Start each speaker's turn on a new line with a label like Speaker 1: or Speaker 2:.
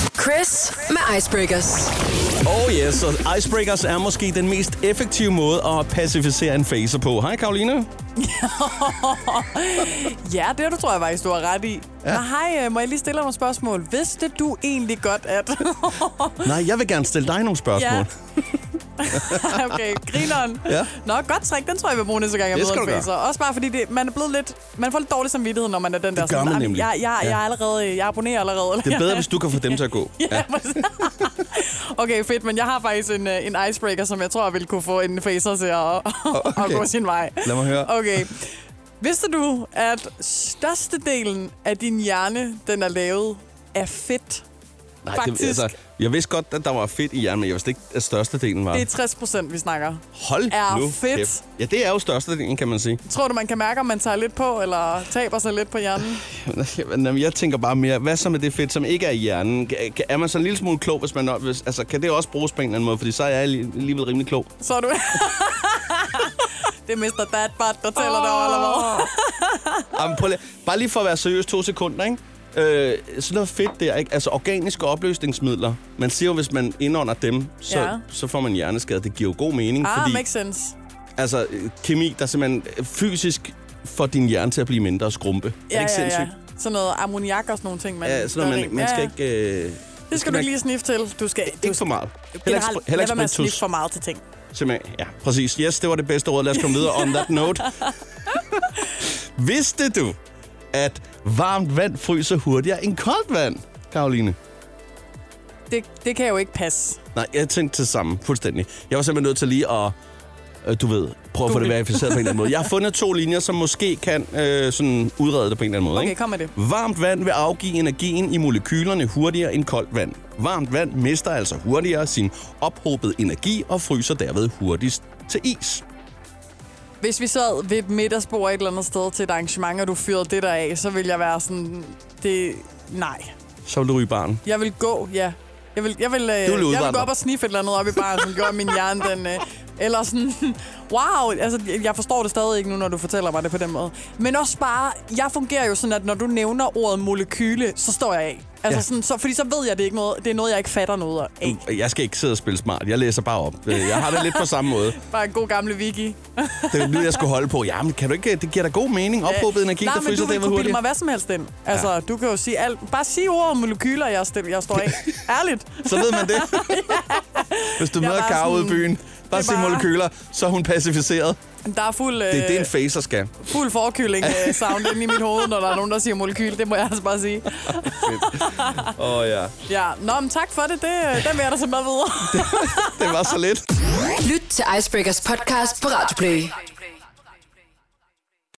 Speaker 1: Chris med Icebreakers.
Speaker 2: Oh yes, og icebreakers er måske den mest effektive måde at pacificere en facer på. Hej Karoline.
Speaker 3: Ja, det du tror jeg faktisk, du har ret i. Ja. Men hej, øh, må jeg lige stille dig nogle spørgsmål? Vidste du egentlig godt, at...
Speaker 2: Nej, jeg vil gerne stille dig nogle spørgsmål.
Speaker 3: ja. okay, grineren.
Speaker 2: Ja.
Speaker 3: Nå, godt trick. Den tror jeg, jeg vil bruge næste gang, jeg
Speaker 2: Det
Speaker 3: møder
Speaker 2: skal
Speaker 3: en
Speaker 2: du gøre.
Speaker 3: facer. Også bare fordi det, man er blevet lidt... Man får lidt dårlig samvittighed, når man er den der...
Speaker 2: gør man
Speaker 3: "Ej, men
Speaker 2: nemlig."
Speaker 3: Jeg, jeg,
Speaker 2: Ja.
Speaker 3: jeg, er allerede... Jeg abonnerer allerede.
Speaker 2: Det er bedre, hvis du kan få dem til at gå.
Speaker 3: Ja. præcis. okay, fedt, men jeg har faktisk en, øh, en icebreaker, som jeg tror, jeg ville kunne få en facer til at, okay.
Speaker 2: okay.
Speaker 3: at gå sin vej.
Speaker 2: Lad mig høre.
Speaker 3: Okay. Vidste du, at størstedelen af din hjerne, den er lavet af fedt?
Speaker 2: Nej, altså,
Speaker 3: Faktisk.
Speaker 2: jeg vidste godt, at der var fedt i hjernen, men jeg vidste ikke, at størstedelen var.
Speaker 3: Det er 60 procent, vi snakker.
Speaker 2: Hold
Speaker 3: er
Speaker 2: nu
Speaker 3: fedt.
Speaker 2: kæft. Ja, det er jo størstedelen, kan man sige.
Speaker 3: Tror du, man kan mærke, om man tager lidt på, eller taber sig lidt på hjernen?
Speaker 2: Jamen, jamen, jeg tænker bare mere, hvad så med det fedt, som ikke er i hjernen? Kan- kan- Er man så en lille smule klog, hvis man... Hvis, altså, kan det også bruges på en eller anden måde? Fordi så er jeg alli- alligevel rimelig klog.
Speaker 3: Så er du... det er Mr. Dad Butt, der tæller oh. dig eller hvad?
Speaker 2: Jamen, prøv lige, bare lige for at være seriøs to sekunder, ikke? Øh, sådan noget fedt der, ikke? Altså organiske opløsningsmidler. Man siger jo, hvis man indånder dem, så, ja.
Speaker 3: Ja.
Speaker 2: så får man hjerneskade. Det giver jo god mening,
Speaker 3: Ah,
Speaker 2: fordi
Speaker 3: makes sense.
Speaker 2: altså, øh, kemi, der simpelthen øh, fysisk får din hjerne til at blive mindre og skrumpe. er det ikke
Speaker 3: ja.
Speaker 2: sindssygt?
Speaker 3: Sådan noget ammoniak og sådan nogle ting, man...
Speaker 2: Ja, sådan noget, man, man skal ikke... Øh,
Speaker 3: Det skal du ikke lige sniffe til. Du skal... Du
Speaker 2: Ikke for meget. Heller ikke,
Speaker 3: Generelt,
Speaker 2: spri- heller
Speaker 3: lad være
Speaker 2: ikke
Speaker 3: med at sniffe
Speaker 2: spiritus.
Speaker 3: for meget til ting.
Speaker 2: Simpelthen. Ja, præcis. Yes, det var det bedste råd. Lad os komme videre on that note. Vidste du, at varmt vand fryser hurtigere end koldt vand, Karoline?
Speaker 3: Det, det kan jo ikke passe.
Speaker 2: Nej, jeg tænkte til sammen fuldstændig. Jeg var simpelthen nødt til lige at, øh, du ved, prøve at få det
Speaker 3: Google.
Speaker 2: verificeret på en eller anden måde. Jeg har fundet to linjer, som måske kan øh, sådan udrede det på en eller anden måde.
Speaker 3: Okay,
Speaker 2: ikke?
Speaker 3: kom med det.
Speaker 2: Varmt vand vil afgive energien i molekylerne hurtigere end koldt vand. Varmt vand mister altså hurtigere sin ophobede energi og fryser derved hurtigst til is.
Speaker 3: Hvis vi sad ved et middagsbord et eller andet sted til et arrangement, og du fyrede det der af, så ville jeg være sådan... Det... Nej.
Speaker 2: Så vil du ryge barn.
Speaker 3: Jeg vil gå, ja. Jeg vil, jeg vil, øh, jeg vil gå
Speaker 2: udvandre.
Speaker 3: op og sniffe et eller andet op i baren, som gjorde min hjerne den... Øh, eller sådan, wow, altså jeg forstår det stadig ikke nu, når du fortæller mig det på den måde. Men også bare, jeg fungerer jo sådan, at når du nævner ordet molekyle, så står jeg af. Altså
Speaker 2: Ja.
Speaker 3: ja. sådan, så, fordi så ved jeg, det er ikke noget, det er noget, jeg ikke fatter noget af.
Speaker 2: Jeg skal ikke sidde og spille smart. Jeg læser bare op. Øh, Jeg har det lidt på samme måde.
Speaker 3: Bare en god gamle Vicky.
Speaker 2: Det er nu, jeg skulle holde på. Jamen, kan du ikke? Det giver da god mening. Ophobet energi,
Speaker 3: Øh, Nej,
Speaker 2: der
Speaker 3: men
Speaker 2: fryser
Speaker 3: du vil
Speaker 2: derved
Speaker 3: kunne bilde
Speaker 2: hurtigere.
Speaker 3: mig hvad som helst ind. Altså,
Speaker 2: Ja.
Speaker 3: ja. du kan jo sige alt. Bare sig ordet om molekyler, jeg, stil, jeg står af. Ærligt.
Speaker 2: Så ved man det. Hvis du
Speaker 3: Jeg
Speaker 2: møder
Speaker 3: var
Speaker 2: Karo ude i
Speaker 3: sådan-
Speaker 2: byen,
Speaker 3: det
Speaker 2: bare
Speaker 3: er
Speaker 2: se
Speaker 3: bare-
Speaker 2: molekyler, så er hun pacificeret.
Speaker 3: Der er fuld, øh,
Speaker 2: Det er det, en facer skal.
Speaker 3: fuld forkylling-sound inde i mit hoved, når der er nogen, der siger molekyl. Det må jeg altså bare sige.
Speaker 2: Åh oh, ja,
Speaker 3: Ja, nå, men tak for det. det øh, den vil jeg da simpelthen videre.
Speaker 2: det var så lidt.
Speaker 1: Lyt til Icebreakers podcast på Radio Play.